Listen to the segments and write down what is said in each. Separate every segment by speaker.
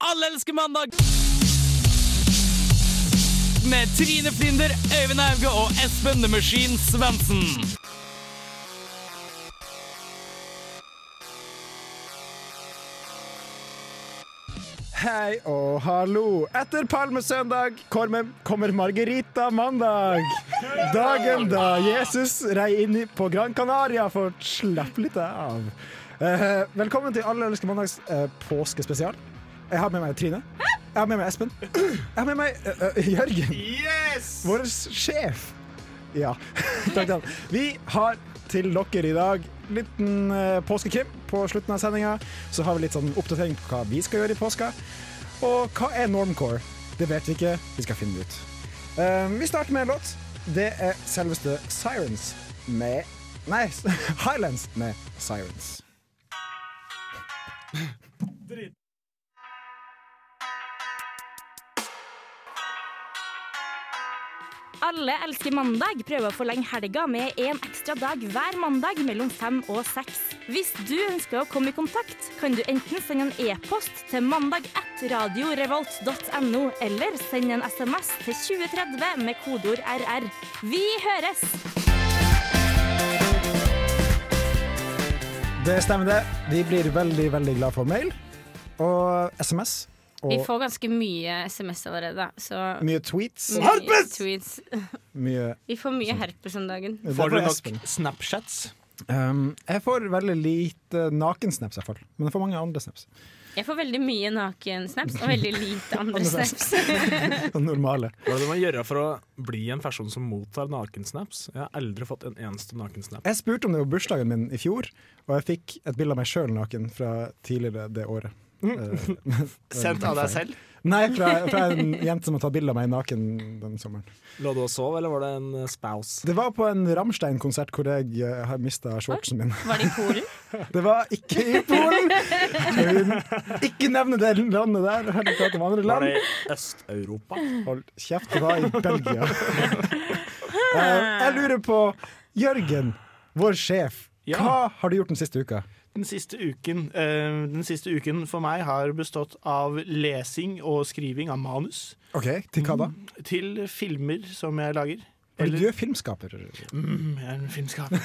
Speaker 1: Alle elsker mandag! Med Trine Flinder, Øyvind Auge og Espen The Machine Svendsen.
Speaker 2: Hei og hallo. Etter Palmesøndag kommer, kommer Margarita mandag. Dagen da Jesus rei inn i- på Gran Canaria for å slappe litt av. Eh, velkommen til Alle elsker mandags eh, påskespesial. Jeg har med meg Trine. Jeg har med meg Espen. Jeg har med meg eh, eh, Jørgen,
Speaker 3: Yes!
Speaker 2: vår sjef. Ja. Takk til han. Vi har til dere i dag liten eh, påskekrim på slutten av sendinga. Så har vi litt sånn oppdatering på hva vi skal gjøre i påska. Og hva er normcore? Det vet vi ikke. Vi skal finne det ut. Eh, vi starter med en låt. Det er selveste Sirens med Nei, Highlands med Sirens.
Speaker 4: Alle elsker mandag prøver å forlenge helga med en ekstra dag hver mandag mellom fem og seks. Hvis du ønsker å komme i kontakt, kan du enten sende en e-post til mandag1radiorevolt.no, eller sende en SMS til 2030 med kodeord RR. Vi høres!
Speaker 2: Det stemmer, det. Vi blir veldig, veldig glad for mail og SMS.
Speaker 5: Vi
Speaker 2: Og
Speaker 5: får ganske mye SMS allerede, da, så
Speaker 2: mye tweets.
Speaker 5: mye
Speaker 3: Herpes!
Speaker 5: Tweets.
Speaker 2: Mye
Speaker 5: Vi får mye herpes om dagen.
Speaker 2: Det er
Speaker 3: Får dere
Speaker 2: bare Espen.
Speaker 3: nok Snapchats?
Speaker 2: Um, jeg får veldig lite nakensnaps, i hvert fall. Men jeg får mange andre snaps.
Speaker 5: Jeg får veldig mye nakensnaps og veldig lite andre snaps.
Speaker 2: Sånn Normale.
Speaker 3: Hva er det man gjør for å bli en person som mottar nakensnaps? Jeg har aldri fått en eneste nakensnap.
Speaker 2: Jeg spurte om det på bursdagen min i fjor, og jeg fikk et bilde av meg sjøl naken fra tidligere det året. Eh,
Speaker 6: Mm. Sendt av deg selv?
Speaker 2: Nei, fra, fra en jente som har tatt bilde av meg naken den sommeren.
Speaker 3: Lå du og sov, eller var det en eh, spouse?
Speaker 2: Det var på en Rammstein-konsert hvor jeg eh, har mista shortsen min.
Speaker 5: Var det i Polen?
Speaker 2: Det var ikke i Polen! Skal vi Ikke nevne det landet der. Har du pratet om andre
Speaker 3: Var
Speaker 2: land?
Speaker 3: det i Øst-Europa?
Speaker 2: Hold kjeft, det var i Belgia. Eh, jeg lurer på Jørgen, vår sjef.
Speaker 6: Ja.
Speaker 2: Hva har du gjort den siste uka?
Speaker 6: Den siste, uken, eh, den siste uken for meg har bestått av lesing og skriving av manus
Speaker 2: Ok, Til hva da?
Speaker 6: til filmer som jeg lager.
Speaker 2: Eller du er filmskaper.
Speaker 6: Mm, jeg er en filmskaper.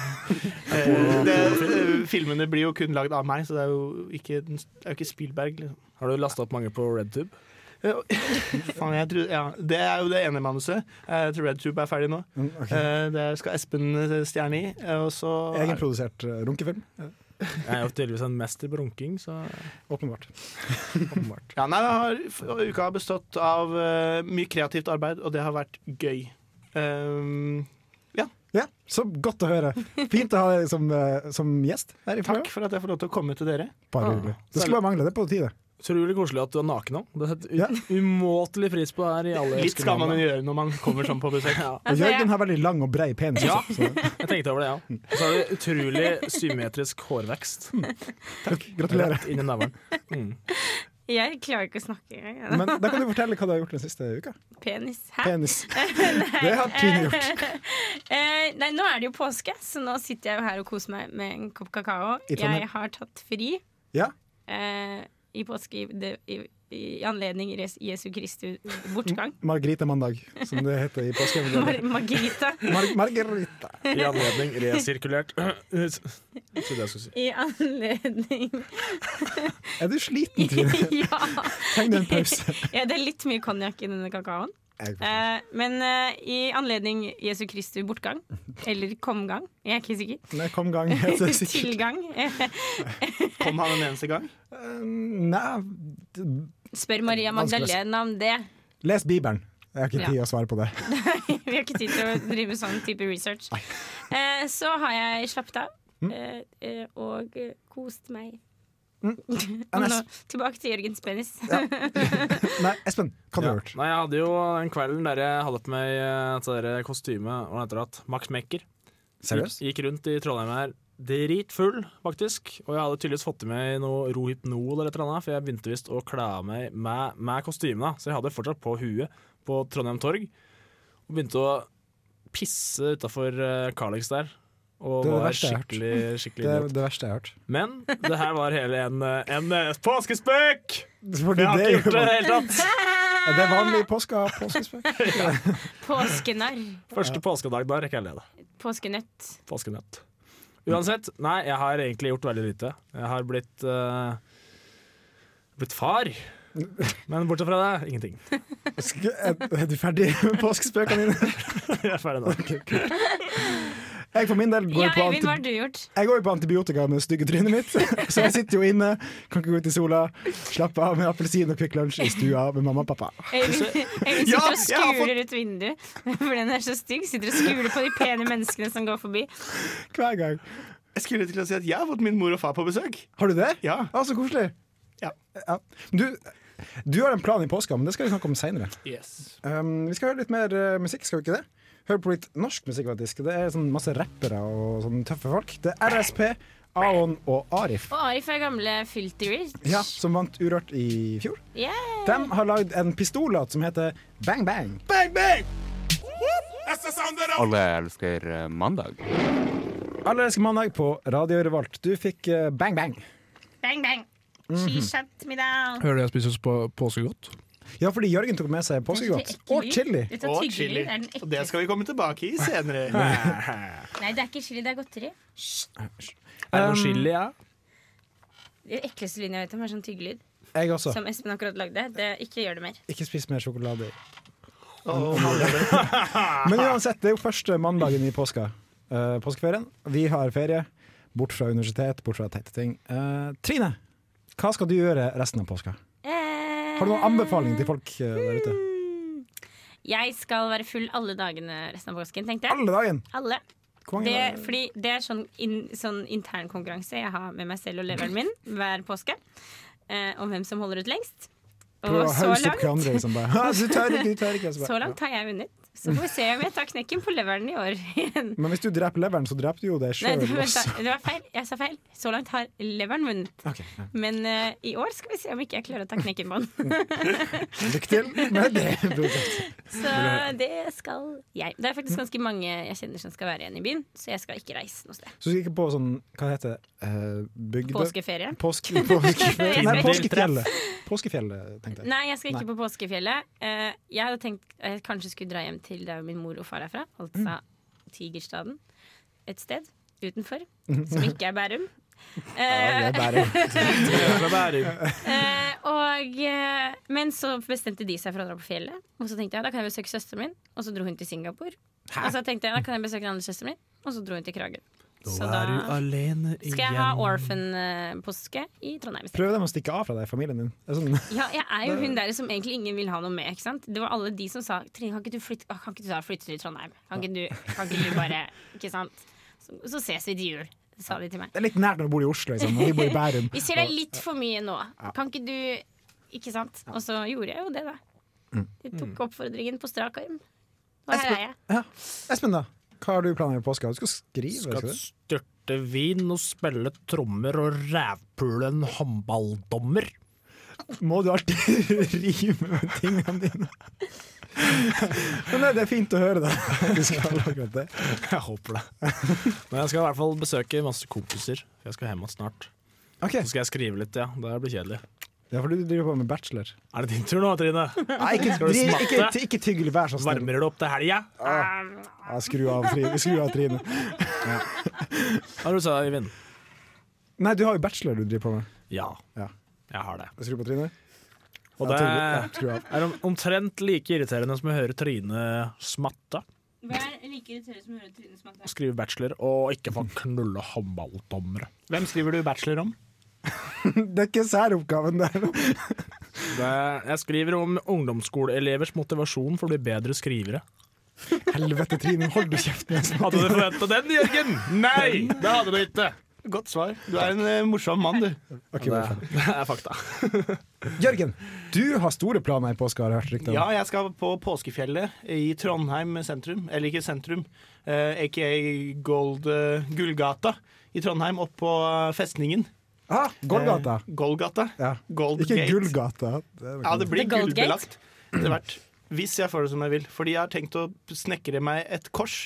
Speaker 6: Eh, det- eh, filmene blir jo kun lagd av meg, så det er jo ikke, den- det er jo ikke Spielberg. Liksom.
Speaker 3: Har du lasta opp mange på RedTube?
Speaker 6: Eh, Faen, jeg tror, ja, det er jo det ene manuset. Eh, Jeg tror Red Tube er ferdig nå.
Speaker 2: Mm, ok.
Speaker 6: Eh, Det skal Espen eh, stjerne i. eh, Og så
Speaker 2: Egenprodusert eh, runkefilm,
Speaker 3: Jeg er jo tydeligvis en mester brunking, så
Speaker 2: åpenbart.
Speaker 3: åpenbart.
Speaker 6: Ja, nei, det har, f- uka har bestått av eh, mye kreativt arbeid, og det har vært gøy. Ehm,
Speaker 2: Ja, Så godt å høre. Fint å ha deg som, eh, som gjest her i
Speaker 6: takk
Speaker 2: programmet.
Speaker 6: for at jeg får lov til å komme til dere.
Speaker 3: Ah.
Speaker 2: Bare hyggelig. Det skulle bare mangle. Det er på tide.
Speaker 3: Utrolig koselig at du er naken nå. Det setter u-
Speaker 2: Ja.
Speaker 3: umåtelig pris på det her. i alle
Speaker 6: Litt skal man
Speaker 3: elsker
Speaker 6: jo gjøre når man kommer sånn på besøk.
Speaker 3: Ja.
Speaker 2: Og
Speaker 5: Altså,
Speaker 2: Jørgen
Speaker 5: jeg,
Speaker 2: har veldig lang og brei penis.
Speaker 3: Ja.
Speaker 2: også, så
Speaker 3: Jeg tenkte over det, ja. Og så har du utrolig symmetrisk hårvekst.
Speaker 2: Hm. Gratulerer.
Speaker 3: Rett inn i navlen. Mm.
Speaker 5: jeg klarer ikke å snakke engang.
Speaker 2: Men da kan du fortelle hva du har gjort den siste uka.
Speaker 5: Penis. Hæ?
Speaker 2: Penis. Det har Trine gjort.
Speaker 5: Eh, nei, nå er det jo påske, så nå sitter jeg jo her og koser meg med en kopp kakao.
Speaker 2: I Trondheim.
Speaker 5: Jeg har tatt fri
Speaker 2: Ja.
Speaker 5: eh, i påske i, det- i, i anledning Res- Jesu Kristus bortgang.
Speaker 2: Margarita Mandag, som det heter i påsken.
Speaker 5: Mar Margarita.
Speaker 2: Mar Margarita.
Speaker 3: I anledning resirkulert Ikke det jeg skulle si.
Speaker 5: I anledning
Speaker 2: Er du sliten, Trine?
Speaker 5: Ja.
Speaker 2: Trenger du en pause?
Speaker 5: ja, det er litt mye konjakk i denne kakaoen.
Speaker 2: Jeg-
Speaker 5: Eh, men eh, i anledning Jesu Kristi bortgang, eller komgang, jeg er ikke sikker.
Speaker 2: Nei, kom gang, heter det sikkert.
Speaker 5: Tilgang. eh,
Speaker 6: Kom han en eneste gang?
Speaker 2: Eh, Nei d-
Speaker 5: Spør Maria Magdalena om det.
Speaker 2: Les Bibelen. Jeg har ikke tid til å svare på det.
Speaker 5: Vi har ikke tid til å drive med sånn type research. Eh, så har jeg slappet av.
Speaker 2: Mm.
Speaker 5: eh, eh, og eh, kost meg.
Speaker 2: Mm.
Speaker 5: Og nå tilbake til Jørgens penis.
Speaker 2: Nei, Espen, hva har du
Speaker 3: Ja.
Speaker 2: gjort?
Speaker 3: Nei, jeg hadde jo den kvelden der jeg hadde på meg eh, dette der kostymet Hva heter det? at Max Mekker.
Speaker 2: Seriøst?
Speaker 3: Gikk rundt i Trondheim her dritfull, faktisk. Og jeg hadde tydeligvis fått i meg noe Rohypnol eller et eller annet, for jeg begynte visst å kle av meg med, med kostymene. Så jeg hadde fortsatt på huet på Trondheim Torg, og begynte å pisse utafor Carlix eh, der. Og
Speaker 2: Det er det
Speaker 3: var
Speaker 2: verste jeg har hørt.
Speaker 3: skikkelig, skikkelig
Speaker 2: Det er
Speaker 3: idiot.
Speaker 2: det verste jeg har hørt.
Speaker 3: Men det her var hele en, eh, en eh, påskespøk!
Speaker 2: Fordi
Speaker 3: Jeg har
Speaker 2: det,
Speaker 3: ikke
Speaker 2: er
Speaker 3: gjort
Speaker 2: jo
Speaker 3: det i
Speaker 2: bare-
Speaker 3: det hele tatt.
Speaker 2: er det vanlig påske, påskespøk?
Speaker 5: Påskenarr.
Speaker 3: Første påskedag, da rekker jeg å le det.
Speaker 5: Påskenøtt.
Speaker 3: Påskenøtt. Uansett, nei, jeg har egentlig gjort veldig lite. Jeg har blitt eh, blitt far. Men bortsett fra det, ingenting.
Speaker 2: Sk- Er er du ferdig med påskespøkene dine?
Speaker 3: Jeg er ferdig nå.
Speaker 2: Jeg for min del går
Speaker 5: Ja,
Speaker 2: jo på
Speaker 5: Øyvind, hva
Speaker 2: anti-
Speaker 5: har du gjort?
Speaker 2: jeg går jo på antibiotika med det stygge trynet mitt, så jeg sitter jo inne, kan ikke gå ut i sola, slappe av med appelsin og Kvikk Lunsj i stua med mamma og pappa.
Speaker 5: Øyvind, Øyvind
Speaker 6: Ja,
Speaker 5: sitter og
Speaker 6: jeg har
Speaker 5: skuler ut vinduet, for den er så stygg. Sitter og skuler på de pene menneskene som går forbi.
Speaker 2: Hver gang.
Speaker 6: Jeg skulle til å si at jeg har fått min mor og far på besøk.
Speaker 2: Har du det?
Speaker 6: Ja.
Speaker 2: Ah, så koselig.
Speaker 6: Ja.
Speaker 2: Ja. Du, du har en plan i påska, men det skal vi snakke om seinere.
Speaker 6: Yes.
Speaker 2: Um, vi skal høre litt mer eh, musikk, skal vi ikke det? Hør på litt norsk musikk, faktisk. Det er sånn masse rappere og sånn tøffe folk. Det er RSP, Aon og Arif,
Speaker 5: Og Arif er gamle Filty Rich.
Speaker 2: ja, som vant Urørt i fjor.
Speaker 5: Yeah.
Speaker 2: De har lagd en pistollåt som heter Bang Bang.
Speaker 7: Alle elsker eh, mandag.
Speaker 2: Allerede mandag på Radio Revolt. Du fikk eh, Bang Bang.
Speaker 5: Bang, bang. She shut me down.
Speaker 8: Hører du jeg spiser på påskegodt?
Speaker 2: Ja, fordi Jørgen tok med seg påskegodt og chili.
Speaker 5: Dette
Speaker 6: Og
Speaker 5: tyggelyd
Speaker 6: chili.
Speaker 5: er den
Speaker 6: Og det
Speaker 5: ekleste.
Speaker 6: skal vi komme tilbake i senere.
Speaker 5: Nei, det er ikke chili, det er godteri.
Speaker 3: Er det noe chili, ja?
Speaker 5: Det ekleste lyden jeg vet om, er sånn tyggelyd.
Speaker 2: Jeg også.
Speaker 5: Som Espen akkurat lagde. Det, ikke gjør det mer.
Speaker 2: Ikke spis mer sjokolade.
Speaker 6: Og
Speaker 2: Men uansett, det er jo første mandagen i påska. Eh, påskeferien. Vi har ferie. Bort fra universitet, bort fra teite ting. Eh, Trine, hva skal du gjøre resten av påska?
Speaker 5: Eh.
Speaker 2: Har du noen anbefaling til folk eh, der ute?
Speaker 5: Jeg skal være full alle dagene resten av påsken, tenkte jeg.
Speaker 2: Alle dagen!
Speaker 5: Alle.
Speaker 2: Hvor mange
Speaker 5: Det,
Speaker 2: dager?
Speaker 5: fordi det er sånn, in, sånn intern konkurranse jeg har med meg selv og leveren min hver påske. Eh, om hvem som holder ut lengst.
Speaker 2: Prøv
Speaker 5: Og
Speaker 2: å
Speaker 5: så
Speaker 2: hause opp hva
Speaker 5: langt,
Speaker 2: andre liksom bare «Ha, Du tør ikke, du tør ikke. Så
Speaker 5: så
Speaker 2: bare,
Speaker 5: langt har jeg vunnet. Så får vi se om jeg tar knekken på leveren i år igjen.
Speaker 2: ja. Men hvis du dreper leveren, så dreper du jo deg
Speaker 5: Nei,
Speaker 2: sjøl
Speaker 5: det, var,
Speaker 2: også.
Speaker 5: det var feil. Jeg sa feil. Så langt har leveren vunnet.
Speaker 2: Ok, ja.
Speaker 5: Men eh, i år skal vi se om ikke jeg klarer å ta knekken på den.
Speaker 2: Lykke til med det. prosjektet.
Speaker 5: Så det skal jeg. Det er faktisk ganske mange jeg kjenner som skal være igjen i byen, så jeg skal ikke reise noe sted.
Speaker 2: Så skal vi ikke på sånn, hva heter det, Eh, bygde...
Speaker 5: Påskeferie.
Speaker 2: Påske, påskeferie. Nei, påskefjellet. Påskefjellet, tenkte jeg.
Speaker 5: Nei, jeg skal ikke på påskefjellet. Eh, jeg hadde tenkt at jeg kanskje skulle dra hjem til der min mor og far er fra, altså Tigerstaden. Et sted utenfor som ikke er Bærum.
Speaker 2: Ja,
Speaker 5: Eh,
Speaker 2: det er bare...
Speaker 5: eh, og, eh, men så bestemte de seg for å dra på fjellet. Og så tenkte jeg da kan jeg besøke søsteren min, og så dro hun til Singapore. Og så tenkte jeg da kan jeg besøke den andre søsteren min, og så dro hun til Kragerø. Så da
Speaker 3: alene
Speaker 5: skal jeg ha orphan-påske i Trondheim. i stedet.
Speaker 2: Prøv dem å stikke av fra deg, familien din. Det er Sånn,
Speaker 5: Ja, jeg er jo hun der som egentlig ingen vil ha noe med. ikke sant? Det var alle de som sa Trine, kan ikke du flytte, ah, kan ikke du da flytte til Trondheim? Kan ikke du, kan ikke du bare Ikke sant? Så, så ses vi til jul, sa de til meg.
Speaker 2: det er litt nært når du bor i Oslo, liksom. og Vi bor i Bærum.
Speaker 5: Vi ser deg litt for mye nå. Kan ikke du Ikke sant? Og så gjorde jeg jo det, da.
Speaker 2: Mm.
Speaker 5: De tok oppfordringen på strak arm. Og her er jeg.
Speaker 2: Espen, da? Hva har du planer i påska? Du skal skrive? Skal
Speaker 3: Skal
Speaker 2: du?
Speaker 3: styrte vin og spille trommer og rævpule en håndballdommer.
Speaker 2: ikke? Må du alltid rime med tingene dine? Men nei, det er fint å høre, da. Du skal ha akkurat det.
Speaker 3: Jeg håper det. Men jeg skal i hvert fall besøke masse kompiser. Jeg skal hjem igjen snart.
Speaker 2: Ok,
Speaker 3: Så skal jeg skrive litt, ja. Det blir kjedelig.
Speaker 2: ja, for du driver på med bachelor.
Speaker 3: Er det din tur nå, Trine?
Speaker 2: Nei, ikke,
Speaker 3: Skal du
Speaker 2: dri,
Speaker 3: smatte?
Speaker 2: ikke, ikke, ikke tygg, vær så snill.
Speaker 3: Varmer du opp til helga?
Speaker 6: Ah.
Speaker 2: Ja, skru av Trine. Skru av, Trine.
Speaker 3: Hva er det du sa, Øyvind?
Speaker 2: Nei, du har jo bachelor du driver på med.
Speaker 3: Ja.
Speaker 2: Ja.
Speaker 3: Jeg har det.
Speaker 2: Skru på Trine.
Speaker 3: Og
Speaker 2: Ja,
Speaker 3: det
Speaker 2: tydelig. Ja, skru av.
Speaker 3: er om- omtrent like irriterende som å høre Trine smatte,
Speaker 5: Vær like irriterende som å høre Trine smatte.
Speaker 3: skrive bachelor og ikke få knulle håndballdommere.
Speaker 6: Hvem skriver du bachelor om?
Speaker 2: Det er ikke særoppgaven der.
Speaker 3: Det- Jeg skriver om ungdomsskoleelevers motivasjon for å bli bedre skrivere.
Speaker 2: Helvete, Trine. Hold du kjeft. Med.
Speaker 3: Hadde du forventa den, Jørgen? Nei, det hadde du ikke.
Speaker 6: Godt svar. Du er en eh, morsom mann, du.
Speaker 2: Ok, vær så snill.
Speaker 3: Det er fakta.
Speaker 2: Jørgen, du har store planer i påska, har jeg hørt rykter om.
Speaker 6: Ja, jeg skal på Påskefjellet i Trondheim sentrum. Eller ikke sentrum, eh, aka Gold, eh, Gullgata i Trondheim, oppå festningen.
Speaker 2: Ah, Golgata.
Speaker 6: Eh, Golgata.
Speaker 2: Ja.
Speaker 6: Goldgate.
Speaker 2: Ikke Gullgata. Det er
Speaker 6: Eh, Ja, det blir
Speaker 5: The Goldgate.
Speaker 6: gullbelagt etter hvert. Hvis jeg får det som jeg vil. Fordi jeg har tenkt å snekre meg et kors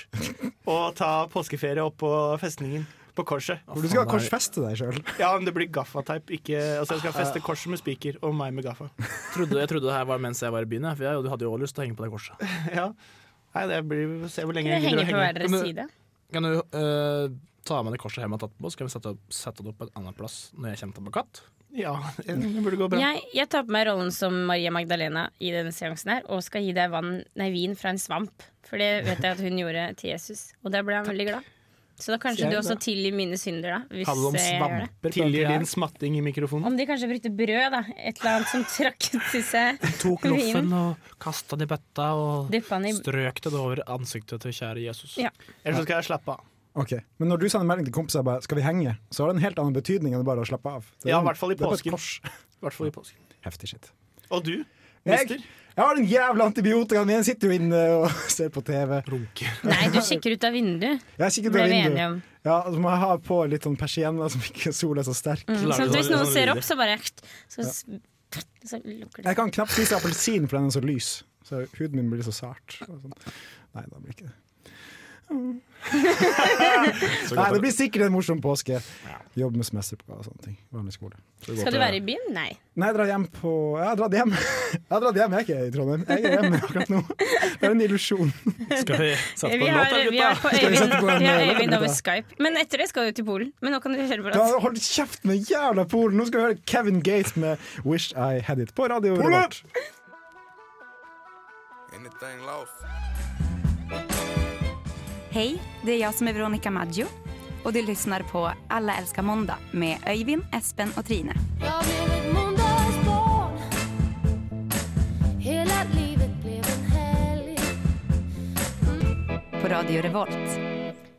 Speaker 6: og ta påskeferie opp på festningen. På korset.
Speaker 2: Hvor du skal korsfeste deg sjøl.
Speaker 6: Ja, men det blir gaffateip. Ikke Altså, jeg skal
Speaker 5: Ah.
Speaker 6: feste korset med spiker og meg med gaffa.
Speaker 3: Trodde, jeg trodde det her var mens jeg var i byen, jeg, for jeg hadde jo også lyst til å henge på det korset.
Speaker 6: Ja. Nei, det blir Vi får se hvor lenge
Speaker 5: Dere
Speaker 6: jeg gidder å
Speaker 5: henger på
Speaker 6: henge.
Speaker 5: hver deres
Speaker 3: Men-
Speaker 5: side.
Speaker 3: Kan du eh, ta med det korset hjem og tatt på, så kan vi sette, sette det opp på en annen plass når jeg kommer tilbake katt?
Speaker 6: Ja, Mm. det burde gå bra.
Speaker 5: Jeg, jeg tar på meg rollen som Maria Magdalena i denne seansen her, og skal gi deg vann, nei, vin fra en svamp. For det vet jeg at hun gjorde til Jesus, og da ble han veldig glad. Så da kanskje
Speaker 6: Jeg
Speaker 5: du
Speaker 6: er
Speaker 5: også
Speaker 6: glad.
Speaker 5: tilgir mine synder, da. Hvis
Speaker 3: Hadde de
Speaker 5: eh, jeg gjør
Speaker 3: svamper
Speaker 5: det.
Speaker 3: på
Speaker 6: Tilgir
Speaker 3: den
Speaker 6: din smatting i mikrofonen.
Speaker 5: Om de kanskje brukte brød, da. Et eller annet som trakk til seg.
Speaker 3: Tok
Speaker 5: loffen
Speaker 3: loffen og kasta den i bøtta og
Speaker 5: Dyppa den i
Speaker 3: strøk den over ansiktet til kjære Jesus.
Speaker 5: Ja.
Speaker 6: Eller så skal jeg slappe av.
Speaker 2: Ok, Men når du sender melding til kompiser bare 'skal vi henge', så har det en helt annen betydning enn bare å slappe av. Det er
Speaker 6: Ja,
Speaker 2: en-
Speaker 6: i hvert fall i
Speaker 2: det er bare et
Speaker 6: påsken.
Speaker 2: kors.
Speaker 6: I hvert fall i påsken.
Speaker 2: Heftig shit.
Speaker 6: Og du,
Speaker 2: Jeg,
Speaker 6: mister?
Speaker 2: jeg har den jævla antibiotikaen min! Jeg sitter jo inne og ser på TV.
Speaker 5: Nei, du kikker ut av vinduet,
Speaker 2: Jeg kikker ut
Speaker 5: ble
Speaker 2: av
Speaker 5: vi enige
Speaker 2: vinduet.
Speaker 5: om.
Speaker 2: Ja, så må jeg ha på litt sånn persienner som ikke sola er så sterk.
Speaker 5: Mm,
Speaker 3: Klarer
Speaker 5: sånn at
Speaker 3: du
Speaker 5: hvis
Speaker 3: det?
Speaker 5: noen
Speaker 3: Sånn
Speaker 5: ser
Speaker 3: lyder.
Speaker 5: opp, så bare Så, så lukker
Speaker 2: Jeg
Speaker 5: det.
Speaker 2: kan knapt spise appelsin, for den er så lys. Så Huden min blir så sart. Og sånn. Nei, da blir ikke det. Nei, det blir sikkert en morsom påske. Jobb med semesteroppgaver og sånne ting. Vanlig skole.
Speaker 5: Skal du være i byen? Nei.
Speaker 2: Nei, jeg drar hjem på Jeg har dratt hjem. Jeg har dratt hjem, jeg er ikke i Trondheim. Jeg er hjemme akkurat nå. Det er en illusjon.
Speaker 3: Skal vi sette på
Speaker 5: Vi
Speaker 3: en
Speaker 5: har,
Speaker 3: låt, da,
Speaker 5: vi
Speaker 3: gutta?
Speaker 5: har på
Speaker 2: vi
Speaker 5: Øyvind,
Speaker 2: sette på en,
Speaker 5: vi har
Speaker 2: eh,
Speaker 5: Øyvind over
Speaker 2: låt, da?
Speaker 5: Skype. Men etter det skal du til Polen. Men nå kan du kjøre på
Speaker 2: Da,
Speaker 5: plass.
Speaker 2: hold kjeft med jævla Polen! Nå skal vi høre Kevin Gates med 'Wish I Had It' på radio. Revolt.
Speaker 9: Hej, det är jag som är Veronica Maggio och du lyssnar på Alla älskar måndag med Öyvind, Espen och Trine.
Speaker 10: Jag blev ett måndagsbarn Hela livet blev en helg
Speaker 9: På Radio Revolt.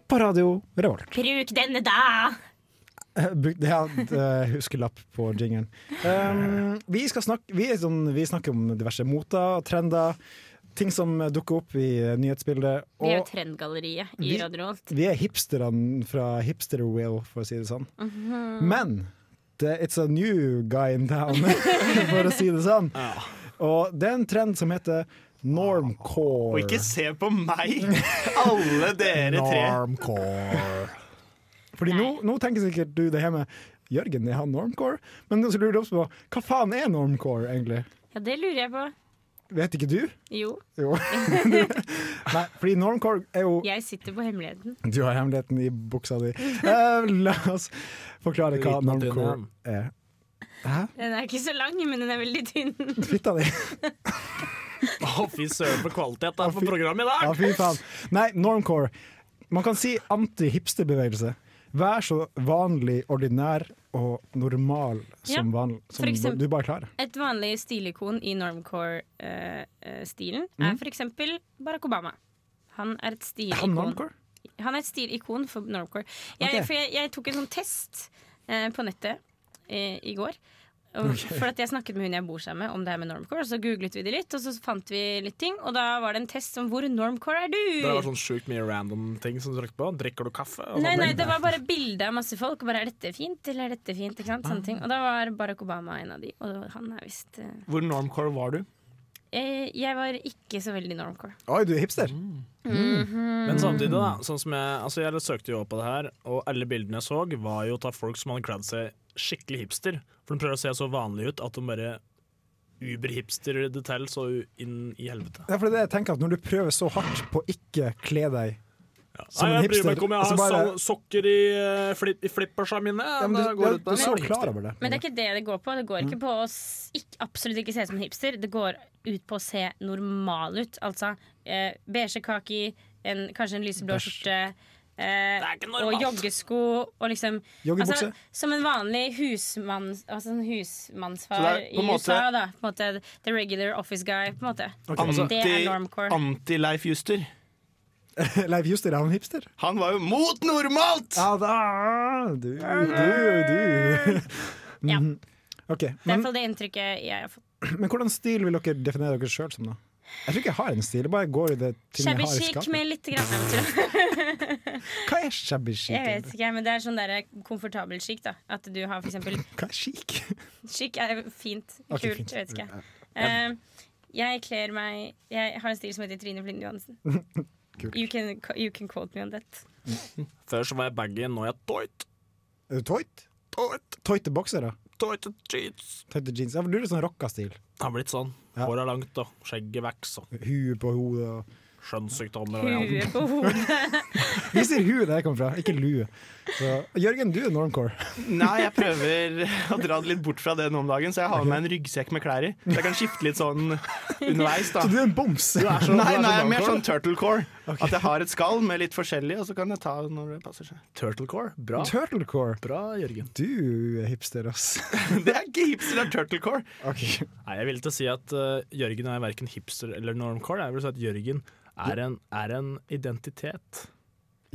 Speaker 2: På radio Revolt.
Speaker 5: Bruk denne, da!
Speaker 2: Eh, bruk- Det er en eh, huskelapp på jingeren. Um, vi, skal snakke, vi, er sånn, vi snakker om diverse moter og trender. Ting som dukker opp i eh, nyhetsbildet.
Speaker 5: Vi er jo
Speaker 2: Og
Speaker 5: Trendgalleriet i
Speaker 2: Vi-
Speaker 5: Radio Revolt.
Speaker 2: vi er hipsterne fra Hipster-Will, for å si det sånn.
Speaker 5: Mhm. Mm.
Speaker 2: Men det, it's a new guy in town, for å si det sånn. Og det er en trend som heter normcore.
Speaker 6: Og ikke se på meg, alle dere tre.
Speaker 8: Normcore.
Speaker 2: Fordi nå, nå tenker sikkert du det hjemme. Jørgen, er han normcore? Men så lurer du også på hva faen er normcore, egentlig?
Speaker 5: Ja, det lurer jeg på.
Speaker 2: Vet ikke du?
Speaker 5: Jo,
Speaker 2: Jo. Nei, fordi normcore er jo
Speaker 5: jeg sitter på hemmeligheten.
Speaker 2: Du har hemmeligheten i buksa di. Eh, la oss forklare hva
Speaker 3: Liten og tynn,
Speaker 2: normcore er.
Speaker 5: Den er ikke så lang, men den er veldig tynn.
Speaker 2: Fitta di!
Speaker 3: Å, fy søren for kvalitet da, på
Speaker 2: fy-
Speaker 3: programmet i
Speaker 2: Ja,
Speaker 3: dag!
Speaker 2: fy faen. Nei, normcore. Man kan si anti-hipsterbevegelse. Vær så vanlig, ordinær og normal som,
Speaker 5: Ja,
Speaker 2: vanlig,
Speaker 5: for
Speaker 2: som
Speaker 5: eksempel-
Speaker 2: du bare klarer.
Speaker 5: Et vanlig stilikon i normcore-stilen eh, er for eksempel Barack Obama. Han er et
Speaker 2: Mm. Er han
Speaker 5: stilikon.
Speaker 2: normcore?
Speaker 5: Han er et stilikon for normcore. Jeg,
Speaker 2: Ok.
Speaker 5: for jeg, jeg tok en sånn test eh, på nettet eh, i går. Og, For at Jeg snakket med hun jeg bor sammen med om det her med normcore, og så googlet vi det litt. Og så fant vi litt ting, og da var det en test om hvor normcore er du?
Speaker 3: Det var sånn sjukt mye random ting som du trakk på. Drikker du kaffe? Og
Speaker 5: Nei,
Speaker 3: sånne
Speaker 5: nei,
Speaker 3: ting.
Speaker 5: det var bare bilde av masse folk. Og bare, er dette fint, eller er dette fint? Ikke sant? Sånne ting. Og da var Barack Obama en av de. Og han er visst eh,
Speaker 6: Hvor normcore var du?
Speaker 5: jeg, jeg var ikke så veldig normcore.
Speaker 2: Oi, du er hipster?
Speaker 6: Mm.
Speaker 5: Mm.
Speaker 3: Men samtidig, da. Sånn som jeg, altså jeg søkte jo opp på det her, og alle bildene jeg så, var jo av folk som hadde kledd seg skikkelig hipster. For de prøver å se så vanlige ut at de bare uber-hipster det til så inn i helvete.
Speaker 2: Ja, for det er det jeg tenker at Når du prøver så hardt på å ikke kle deg Som
Speaker 3: Nei,
Speaker 2: en
Speaker 3: jeg bryr meg
Speaker 2: hipster,
Speaker 3: ikke om jeg har
Speaker 2: altså bare-
Speaker 3: sånn- sokker i, eh, flip, i flippersa mine.
Speaker 2: ja, men du,
Speaker 3: det
Speaker 2: ja,
Speaker 3: går ut på
Speaker 2: du er
Speaker 3: det.
Speaker 2: så klar over det.
Speaker 5: Men det er ikke det det går på. Det går ikke på å s- ikke, absolutt ikke se ut som en hipster. Det går ut på å se normal ut. Altså eh, beige kaki, en, kanskje en lyseblå skjorte. Eh,
Speaker 3: er ikke normalt.
Speaker 5: og joggesko og liksom
Speaker 2: Joggebukse.
Speaker 5: Som en vanlig husmann, altså en
Speaker 6: Så det
Speaker 5: husmannsfar
Speaker 6: er
Speaker 5: i
Speaker 6: på en måte-
Speaker 5: USA, da. På en måte, the regular office guy, på en måte.
Speaker 2: altså-
Speaker 6: Anti-
Speaker 5: det
Speaker 3: Altså,
Speaker 5: er normcore.
Speaker 6: Anti-Leif Juster.
Speaker 2: Leif Juster, er han hipster?
Speaker 6: Han var jo mot normalt!
Speaker 2: Ja da! Du, du, du.
Speaker 5: Ja.
Speaker 2: OK.
Speaker 5: Det er i
Speaker 2: Men,
Speaker 5: hvert fall det inntrykket jeg har fått.
Speaker 2: men hvordan stil vil dere definere dere sjøl som, da? Jeg tror ikke jeg har en stil. Jeg bare går i det ting jeg
Speaker 5: Shabby
Speaker 2: har i
Speaker 5: chic
Speaker 2: skapet.
Speaker 5: med litt grann Nei, vet du.
Speaker 2: Hva er shabby chic?
Speaker 5: Jeg vet
Speaker 2: egentlig?
Speaker 5: ikke, men det er sånn der komfortabel chic, da. At du har for eksempel
Speaker 2: Hva er chic?
Speaker 5: Chic er fint.
Speaker 2: Ok,
Speaker 5: Kult.
Speaker 2: fint.
Speaker 5: Jeg vet ikke. Eh, Jeg kler meg Jeg har en stil som heter Trine Flinde Johansen.
Speaker 2: Kult.
Speaker 5: You can, you can quote me on that.
Speaker 2: Mm.
Speaker 3: Før så var jeg baggy, nå er jeg toit.
Speaker 2: Er du Eh, toit? Toit. Toite boksere?
Speaker 3: Toit and jeans.
Speaker 2: Tøyte jeans? Ja, for du er litt sånn rockastil.
Speaker 3: Det har blitt sånn.
Speaker 2: Ja.
Speaker 3: Håret er langt, da. Skjegget vokser.
Speaker 2: Hue på hodet og
Speaker 3: Skjønnssykdommer og alt.
Speaker 5: Huet på hodet.
Speaker 2: Vi sier hue der jeg kommer fra, ikke lue. Så, Jørgen, du er normcore.
Speaker 6: Nei, jeg prøver å dra det litt bort fra det nå om dagen, så jeg har med meg en ryggsekk med klær i. Så jeg kan skifte litt sånn underveis, da.
Speaker 2: Så du er en boms.
Speaker 6: nei, nei, jeg er mer sånn turtlecore. At jeg har et skall med litt forskjellig, og så kan jeg ta når det passer seg.
Speaker 3: Turtlecore. Bra.
Speaker 2: Turtlecore.
Speaker 3: Bra, Jørgen.
Speaker 2: Du er hipster, ass.
Speaker 6: Det er ikke hipster, det er turtlecore.
Speaker 2: Ok.
Speaker 3: Nei, jeg ville til å si at eh, Jørgen er verken hipster eller normcore. Jeg vil si at Jørgen er en, er en identitet.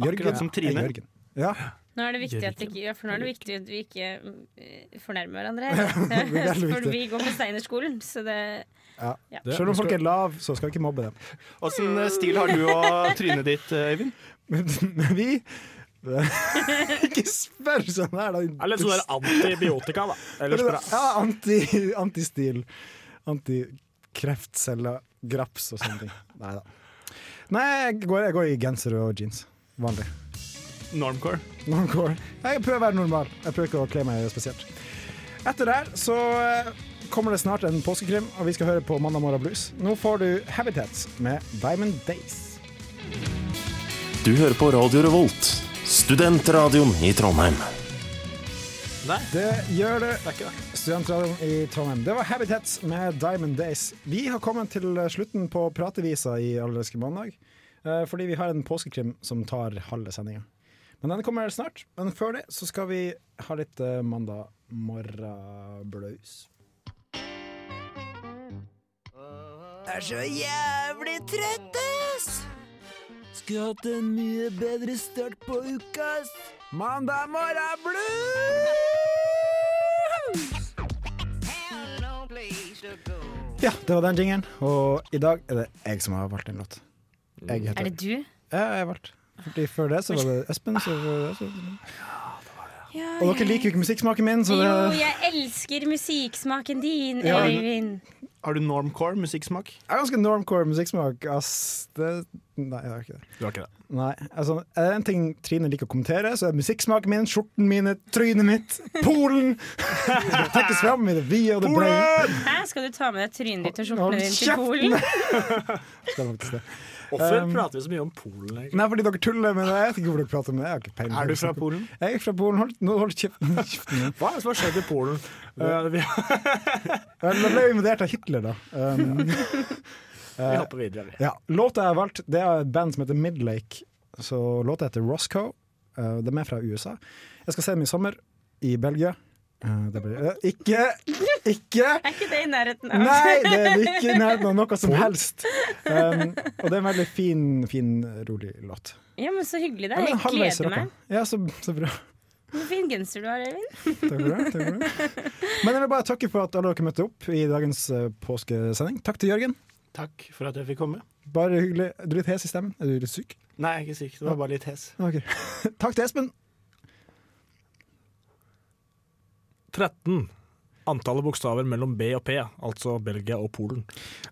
Speaker 2: Jørgen
Speaker 6: som Trine.
Speaker 2: er Jørgen. Ja,
Speaker 5: Nå er det viktig at, ikke, ja, for nå er det viktig at vi ikke eh, fornærmer hverandre. her.
Speaker 2: det er veldig
Speaker 5: For
Speaker 2: viktig.
Speaker 5: vi går på Steinerskolen, så det
Speaker 2: ja.
Speaker 5: Ja.
Speaker 2: Selv om folk er lav, så skal vi ikke mobbe dem.
Speaker 6: Åssen eh, stil har du og trynet ditt, eh, Øyvind?
Speaker 2: Men vi Ikke spør sånn her, da.
Speaker 3: Er litt sånn der antibiotika, da. Eller
Speaker 2: Eller,
Speaker 3: spra.
Speaker 2: ja, anti, antistil. Antikreftceller, graps og sånne ting. Nei da. Nei, jeg går, jeg går i genser og jeans. Vanlig.
Speaker 6: Normcore.
Speaker 2: Normcore. Jeg prøver å være normal. Jeg prøver ikke å kle meg spesielt. Etter der så eh, kommer det snart en påskekrim, og vi skal høre på Mandag morgen blues. Nå får du Habitats med Diamond Days.
Speaker 11: Du hører på Radio Revolt, studentradioen i Trondheim.
Speaker 2: Det gjør det. Studentradioen i Trondheim. Det var Habitats med Diamond Days. Vi har kommet til slutten på pratevisa i Allerske mandag, eh, fordi vi har en påskekrim som tar halve sendinga. Men den kommer snart. Men før det så skal vi ha litt eh, Mandag morgen blues.
Speaker 12: er så jævlig trøtt, ass! Skulle hatt en mye bedre start på uka, ass! Mandag morgen blues!
Speaker 2: Ja, det var den jingeren. Og i dag er det jeg som har valgt en låt. Jeg heter
Speaker 5: Er det du?
Speaker 2: Ja, jeg har valgt. Fordi før det så var det Espen. Så var det, så.
Speaker 5: Ja,
Speaker 2: Og dere liker jo ikke musikksmaken min, så
Speaker 5: Jo,
Speaker 2: det
Speaker 5: jeg elsker musikksmaken din,
Speaker 2: Ja.
Speaker 5: Øyvind.
Speaker 6: Har du normcore musikksmak?
Speaker 2: Jeg har ganske normcore musikksmak, ass. Det, nei, jeg har ikke det.
Speaker 3: Du har ikke det.
Speaker 2: Nei, altså, er det en ting Trine liker å kommentere, så er det musikksmaken min, skjorten mine, trynet mitt, Polen! Det trekkes fram i det vide og det brede.
Speaker 5: Hæ, skal du ta med deg trynet ditt og
Speaker 2: Hold
Speaker 5: skjortene dine til Polen?
Speaker 2: Det er faktisk det.
Speaker 3: Hvorfor
Speaker 2: Um,
Speaker 3: prater vi så mye om Polen, egentlig?
Speaker 2: Nei, fordi dere tuller med det. Jeg vet ikke hvor dere prater om det. Jeg har ikke peiling.
Speaker 6: Er du fra Polen?
Speaker 2: Jeg er fra Polen. Hold, nå hold kjeften. kjeften din.
Speaker 3: Hva er det som har skjedd i Polen? Eh, vi,
Speaker 2: Vel, Da ble vi invadert av Hitler, da. Um,
Speaker 3: vi hopper videre, vi.
Speaker 2: eh, ja. Låta jeg har valgt, det er et band som heter Midlake. Så låta heter Roscoe. Uh, de er fra USA. Jeg skal se dem i sommer i Belgia. Uh, det blir eh, Ikke! Ikke!
Speaker 5: Er ikke det i nærheten av?
Speaker 2: Nei, det er ikke i nærheten av noe som helst. Um, og det er en veldig fin, fin, rolig låt.
Speaker 5: Ja, men Så hyggelig det
Speaker 2: Ja,
Speaker 5: er.
Speaker 2: men
Speaker 5: Jeg
Speaker 2: halvveis
Speaker 5: gleder
Speaker 2: rocka.
Speaker 5: meg.
Speaker 2: Ja, så, så bra.
Speaker 5: Hvor fin genser du har, Øyvind.
Speaker 2: Takk for det. Takk for det. Men jeg vil bare takke for at alle dere møtte opp i dagens eh, påskesending. Takk til Jørgen.
Speaker 6: Takk for at jeg fikk komme.
Speaker 2: Bare hyggelig. Er du litt hes i stemmen? Er du litt syk?
Speaker 6: Nei, jeg er ikke syk. Det var bare litt hes.
Speaker 2: Ok. Takk til Espen.
Speaker 3: 13. Antallet bokstaver mellom B og P, altså Belgia og Polen.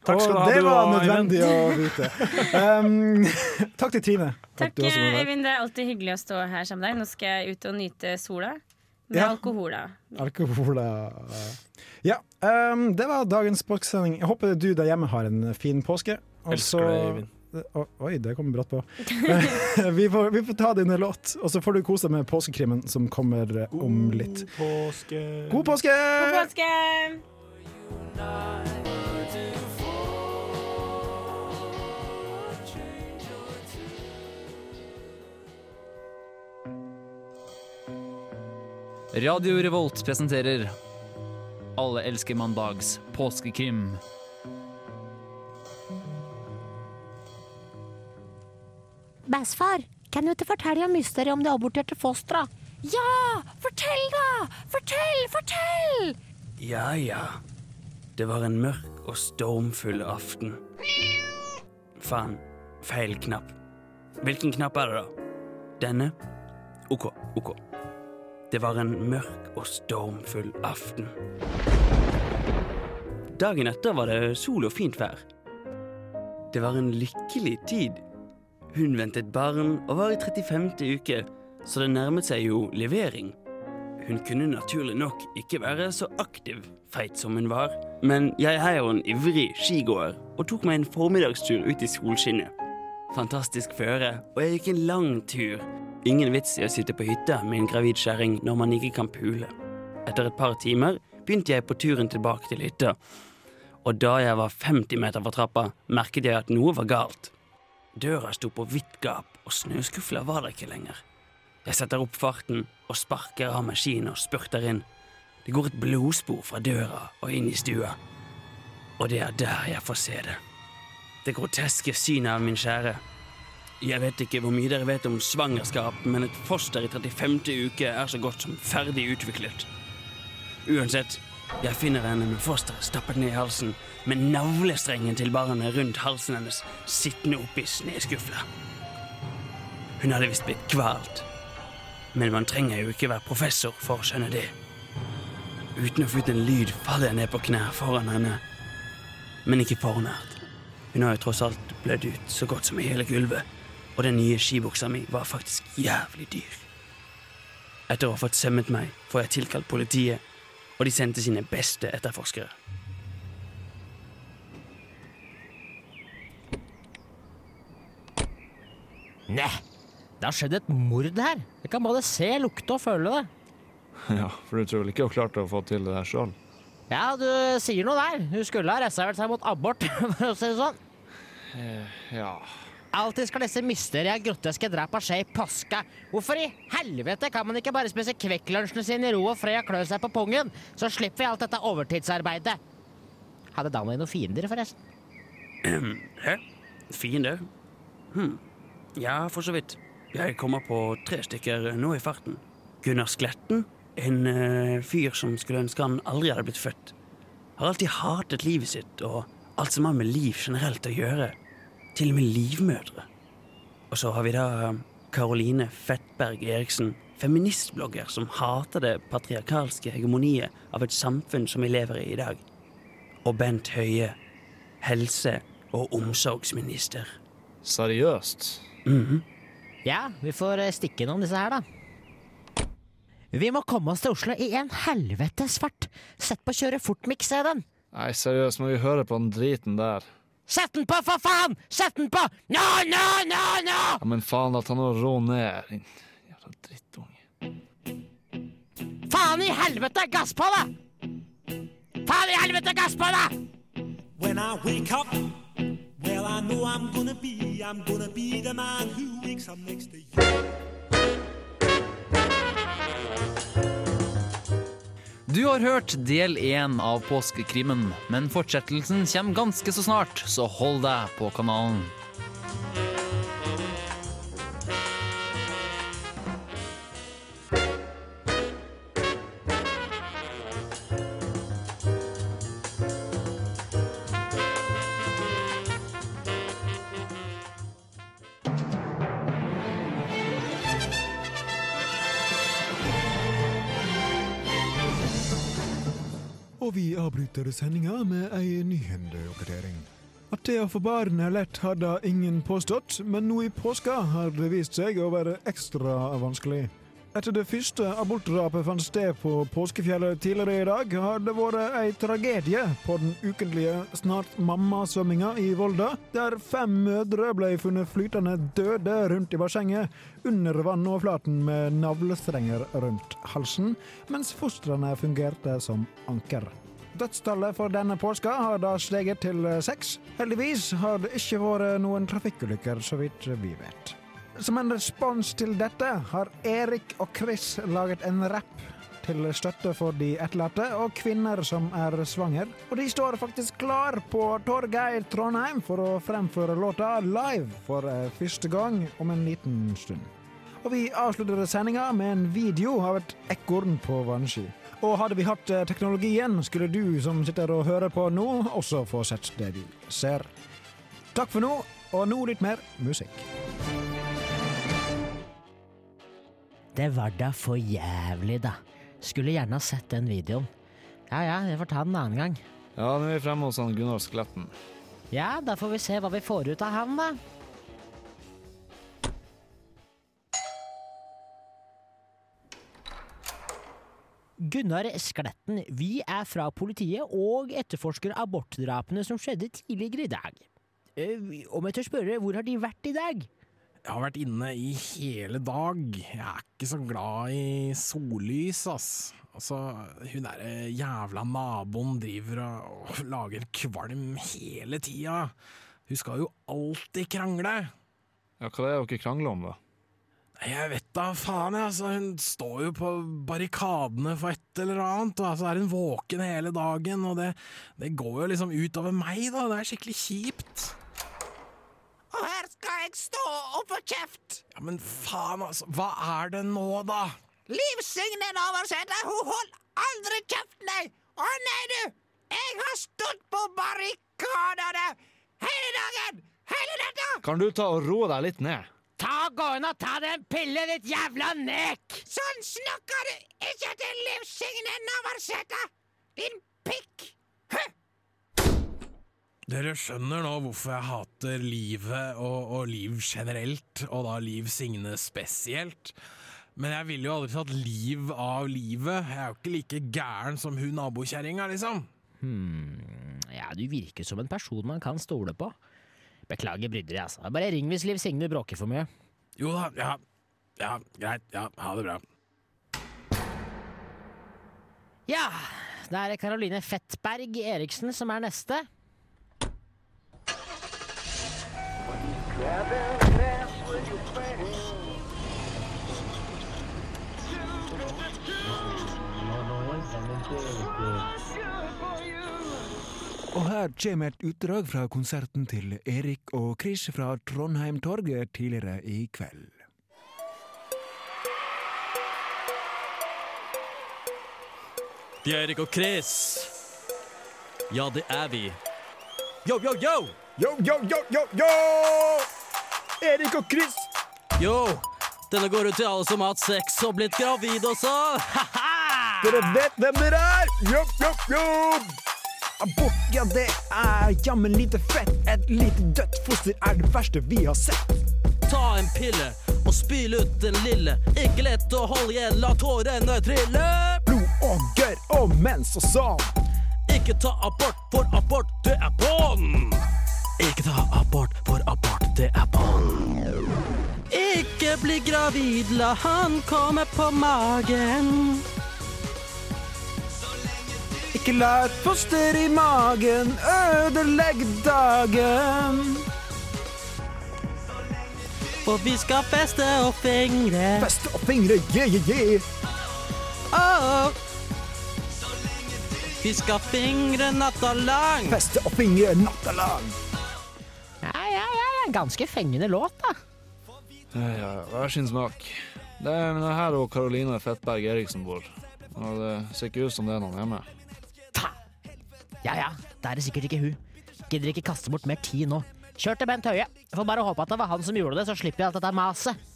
Speaker 3: Takk skal du ha,
Speaker 2: og det
Speaker 3: du
Speaker 2: var
Speaker 3: og Eivind.
Speaker 2: nødvendig å vite. Um, takk til Trine. for at
Speaker 5: Takk,
Speaker 2: du også var der.
Speaker 5: Øyvind. Det er alltid hyggelig å stå her sammen med deg. Nå skal jeg ut og nyte sola. Med
Speaker 2: Ja.
Speaker 5: alkohol, da.
Speaker 2: Alkohol eh. Ja, um, det var dagens påskesending. Jeg håper du der hjemme har en fin påske. Og
Speaker 3: Elsker
Speaker 2: så-
Speaker 3: deg, Eivind.
Speaker 2: Å, Oi, det kom brått på. vi, får, vi får ta det under låt, og så får du kose deg med påskekrimmen som kommer eh, om litt.
Speaker 6: Påske
Speaker 2: God påske!
Speaker 5: God påske!
Speaker 13: Radio Revolt presenterer Alle elsker mandags påskekrim.
Speaker 14: Bæsfar, kan du ikke fortelle om mysteriet om det aborterte fosteret? Ja! Fortell, da! Fortell, fortell!
Speaker 12: Ja, ja. Det var en mørk og stormfull aften. Faen. Feil knapp. Hvilken knapp er det, da? Denne? OK, OK. Det var en mørk og stormfull aften. Dagen etter var det sol og fint vær. Det var en lykkelig tid. Hun ventet barn og var i 35. uke, så det nærmet seg jo levering. Hun kunne naturlig nok ikke være så aktiv feit som hun var, men jeg er jo en ivrig skigåer og tok meg en formiddagstur ut i solskinnet. Fantastisk føre, og jeg gikk en lang tur. Ingen vits i å sitte på hytta med en gravid kjerring når man ikke kan pule. Etter et par timer begynte jeg på turen tilbake til hytta, og da jeg var 50 meter fra trappa, merket jeg at noe var galt. Døra sto på vidt gap, og snøskufler var der ikke lenger. Jeg setter opp farten og sparker av maskinen og spurter inn. Det går et blodspor fra døra og inn i stua. Og det er der jeg får se det. Det groteske synet av min kjære. Jeg vet ikke hvor mye dere vet om svangerskap, men et foster i 35. uke er så godt som ferdig utviklet. Uansett, jeg finner henne med fosteret stappet ned i halsen, med navlestrengen til barnet rundt halsen hennes sittende oppi snøskufla. Hun hadde visst blitt kvalt, men man trenger jo ikke være professor for å skjønne det. Uten å få ut en lyd faller jeg ned på knær foran henne, men ikke for nært. Hun har jo tross alt blødd ut så godt som i hele gulvet, og den nye skibuksa mi var faktisk jævlig dyr. Etter å ha fått sømmet meg, får jeg tilkalt politiet, og de sendte sine beste etterforskere.
Speaker 15: Nei, det har skjedd et mord her. Jeg kan både se, lukte og føle det.
Speaker 16: Ja, for du tror vel ikke hun klarte å få til det her sjøl?
Speaker 15: Ja, du sier noe der. Hun skulle ha reservert seg mot abort, for å si det sånn.
Speaker 16: Ja
Speaker 15: Alltid skal disse mysterier groteske drapa skje i påska. Hvorfor i helvete kan man ikke bare spise Kvikk-lunsjene sine i ro og fred og klø seg på pungen? Så slipper vi alt dette overtidsarbeidet. Hadde Danny noen fiender, forresten?
Speaker 12: Hæ? Fiender? Hm. Ja, for så vidt. Jeg kommer på tre stykker nå i farten. Gunnar Skletten, en eh, fyr som skulle ønske han aldri hadde blitt født. Har alltid hatet livet sitt og alt som har med liv generelt å gjøre. Til og med livmødre. Og så har vi da eh, Caroline Fettberg Eriksen, feministblogger som hater det patriarkalske hegemoniet av et samfunn som vi lever i i dag. Og Bent Høie, helse- og omsorgsminister. Mhm.
Speaker 16: Seriøst?
Speaker 15: Ja, vi får eh, stikke innom disse her, da. Vi må komme oss til Oslo i en helvetes fart. Sett på kjøre fort-miks, se den.
Speaker 16: Nei, seriøst, må vi høre på den driten der?
Speaker 15: Sett den på, for faen! Sett den på! Nå, nå, nå, nå!
Speaker 16: Ja, men faen, la ta nå ro ned. din-
Speaker 15: Faen i helvete, gass på, da! Faen i helvete, gass på, da!
Speaker 17: When I wake up, well, I know I'm gonna be, I'm gonna be the man who wakes up next to you.
Speaker 13: Du har hørt del én av Påskekrimmen, men fortsettelsen kommer ganske så snart, så hold deg på kanalen.
Speaker 2: Og vi avbryter sendinga med ei nyhendeoppdatering. At det å få barn er lett, hadde ingen påstått, men nå i påska har det vist seg å være ekstra vanskelig. Etter det første abortdrapet fant sted på påskefjellet tidligere i dag, har det vært ei tragedie på den ukentlige Snart mamma-svømminga i Volda, der fem mødre ble funnet flytende døde rundt i bassenget under vannoverflaten med navlestrenger rundt halsen, mens fostrene fungerte som anker. Dødstallet for denne påska har da steget til eh, seks. Heldigvis har det ikke vært noen trafikkulykker, så vidt vi vet. Som en respons til dette har Erik og Chris laget en rapp til støtte for de etterlatte og kvinner som er svanger. Og de står faktisk klar på Torget i Trondheim for å fremføre låta live for eh, første gang om en liten stund. Og vi avslutter sendinga med en video av et ekorn på vannski. Og hadde vi hatt eh, teknologien, skulle du som sitter og hører på nå, også få sett det du ser. Takk for nå, og nå litt mer musikk.
Speaker 15: Det var da for jævlig, da. Skulle gjerne ha sett den videoen. Ja ja, jeg får ta den en annen gang.
Speaker 16: Ja, nå er vi fremme hos han Gunnar Skletten.
Speaker 15: Ja, da får vi se hva vi får ut av han, da. Gunnar Skletten, vi er fra politiet og etterforsker abortdrapene som skjedde tidligere i dag. Eh, Om jeg tør spørre, hvor har de vært i dag?
Speaker 18: Jeg har vært inne i hele dag. Jeg er ikke så glad i sollys, ass. Altså, hun derre jævla naboen driver og og lager kvalm hele tida. Hun skal jo alltid krangle.
Speaker 16: Ja, hva er det dere krangler om, da?
Speaker 18: Jeg vet da faen, jeg. Altså, hun står jo på barrikadene for et eller annet, og så er hun våken hele dagen, og det, det går jo liksom utover meg, da. Det er skikkelig kjipt.
Speaker 17: Og her skal jeg stå og få kjeft!
Speaker 18: Ja, men faen, altså. Hva er det nå, da?
Speaker 17: Liv Signe Navarsete, hun holder aldri kjeft, nei! Å nei, du! Jeg har stått på barrikadene hele dagen! Hele natta!
Speaker 16: Kan du ta og roe deg litt ned?
Speaker 15: Ta Gå inn og ta den pillen, ditt jævla nek!
Speaker 17: Sånn snakker du ikke til Liv Signe Navarsete! Din pikk!
Speaker 18: Dere skjønner nå hvorfor jeg hater livet og, og liv generelt, og da Liv Signe spesielt. Men jeg ville jo aldri tatt liv av livet. Jeg er jo ikke like gæren som hun nabokjerringa, liksom.
Speaker 15: Hmm, ja, du virker som en person man kan stole på. Beklager bryderiet, altså. Bare ring hvis Liv Signe bråker for mye.
Speaker 18: Jo da, ja. Ja, greit. Ja, ha det bra.
Speaker 15: Ja, det er Karoline Fettberg Eriksen som er neste.
Speaker 19: Og her kommer et utdrag fra konserten til Erik og Chris fra Trondheim Torget tidligere i kveld.
Speaker 20: Det er Erik og Chris. Ja, det er vi. Yo, yo, yo!
Speaker 2: Yo, yo, yo, yo, yo! Erik og Chris.
Speaker 20: Yo! Denne går ut til alle som har hatt sex og blitt gravid også. Haha!
Speaker 2: Dere vet hvem dere er! Jopp, jopp, jopp! Abort, ja, det er jammen lite fett. Et lite dødt foster er det verste vi har sett.
Speaker 20: Ta en pille og spyl ut den lille. Ikke lett å holde igjen, la tårene trille.
Speaker 2: Blod og gørr og mens og sånn.
Speaker 20: Ikke ta abort, for abort, det er bånd. Ikke ta abort, for abort, det er bånd. Ikke bli gravid, la han komme på magen.
Speaker 19: Ikke la et foster i magen ødelegge dagen.
Speaker 20: For vi skal feste og fingre.
Speaker 2: Feste og fingre, yeah, yeah, yeah.
Speaker 20: Åh. Vi skal fingre natta lang.
Speaker 2: Feste og fingre natta lang.
Speaker 15: Ja, ja, ja, ja. Ganske fengende låt, da.
Speaker 16: Ja, ja, hver sin smak. Det er men det er her og Karoline Fettberg Eriksen bor. Og det ser ikke ut som det er noen hjemme.
Speaker 15: Ja ja, det er det sikkert ikke hun. Gidder ikke kaste bort mer tid nå. Kjør til Bent Høie. Får bare håpe at det var han som gjorde det, så slipper jeg alt dette maset.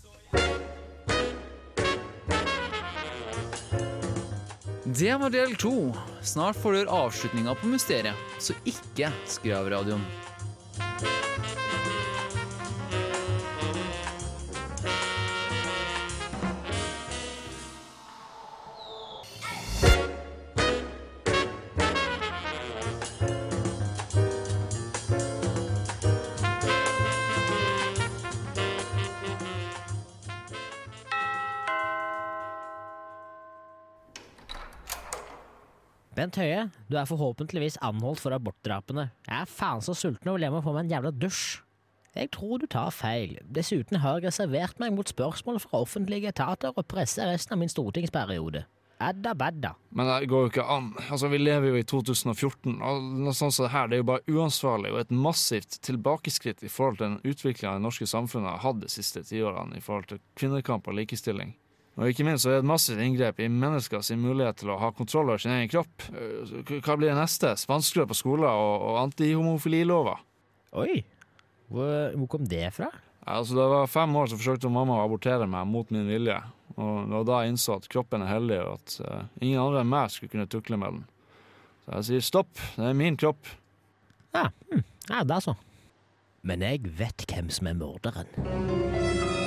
Speaker 13: Det var del to. Snart får du høre avslutninga på mysteriet, så ikke skru av radioen.
Speaker 15: Bent Høie, du er forhåpentligvis anholdt for abortdrapene. Jeg er faen så sulten og vil hjem og få meg en jævla dusj. Jeg tror du tar feil. Dessuten har jeg reservert meg mot spørsmål fra offentlige etater og presse resten av min stortingsperiode. Adda badda.
Speaker 16: Men det går jo ikke an. Altså, Vi lever jo i 2014, og noe sånt som det her det er jo bare uansvarlig og et massivt tilbakeskritt i forhold til den utviklingen det norske samfunnet har hatt de siste tiårene i forhold til kvinnekamp og likestilling. Og ikke minst så er det et massivt inngrep i menneskers mulighet til å ha kontroll over sin egen kropp. Eh, Hva blir det neste? Spanskrør på skoler og, og antihomofililover?
Speaker 15: Oi, hvor, hvor kom det fra?
Speaker 16: Ja, Altså, da jeg var fem år, så forsøkte mamma å abortere meg mot min vilje. Og det var da jeg innså at kroppen er hellig, og at eh, ingen andre enn meg skulle kunne tukle med den. Så Så jeg sier stopp, det er min kropp.
Speaker 1: Ja, hm. ja det er så. Men jeg vet hvem som er morderen.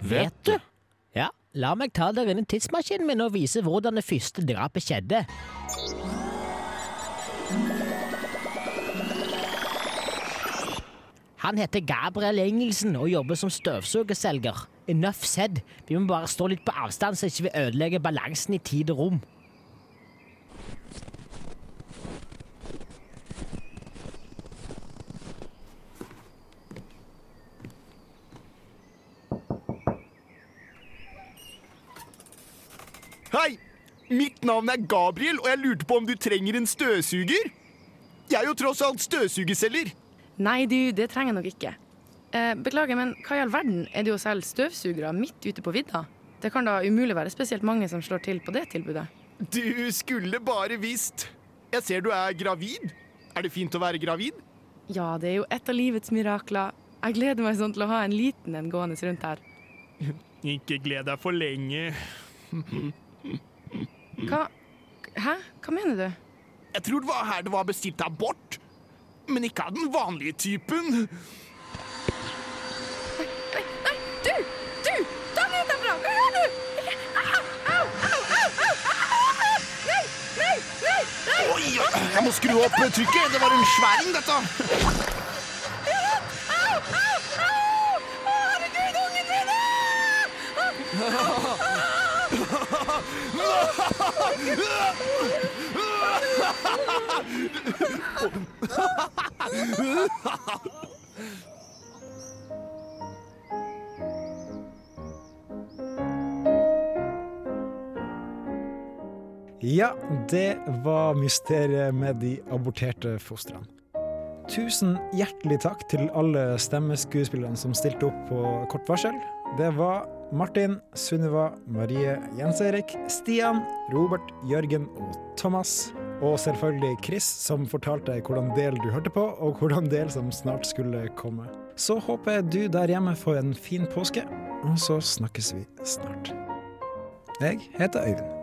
Speaker 16: Vet du?
Speaker 1: Ja, la meg ta dere inn i tidsmaskinen min og vise hvordan det første drapet skjedde. Han heter Gabriel Engelsen og jobber som støvsugerselger. Enough said. Vi må bare stå litt på avstand så ikke vi ødelegger balansen i tid og rom.
Speaker 21: Hei! Mitt navn er Gabriel, og jeg lurte på om du trenger en støvsuger? Jeg er jo tross alt støvsugerselger.
Speaker 22: Nei, du, det trenger jeg nok ikke. Eh, beklager, men hva i all verden er det å selge støvsugere midt ute på vidda? Det kan da umulig være spesielt mange som slår til på det tilbudet.
Speaker 21: Du skulle bare visst. Jeg ser du er gravid. Er det fint å være gravid?
Speaker 22: Ja, det er jo et av livets mirakler. Jeg gleder meg sånn til å ha en liten en gående rundt her.
Speaker 21: Ikke gled deg for lenge.
Speaker 22: Hva Hæ? Hva mener du?
Speaker 21: Jeg tror det var her det var bestilt abort. Men ikke av den vanlige typen.
Speaker 22: Du! Du! Ta den ut derfra! Hvor er du? Au! Au! Au! Au! Au! Nei! Nei! Nei! Nei!
Speaker 21: Oi, jeg må skru opp trykket. Det var en sværing, dette.
Speaker 22: Au! Au! Au! Å, herregud, ungen min!
Speaker 2: Ja, det var mysteriet med de aborterte fostrene. Tusen hjertelig takk til alle stemmeskuespillerne som stilte opp på kort varsel. Det var Martin, Sunniva, Marie, Jens Erik, Stian, Robert, Jørgen og Thomas. Og selvfølgelig Chris, som fortalte hvordan del du hørte på, og hvordan del som snart skulle komme. Så håper jeg du der hjemme får en fin påske, og så snakkes vi snart. Jeg heter Øyvind.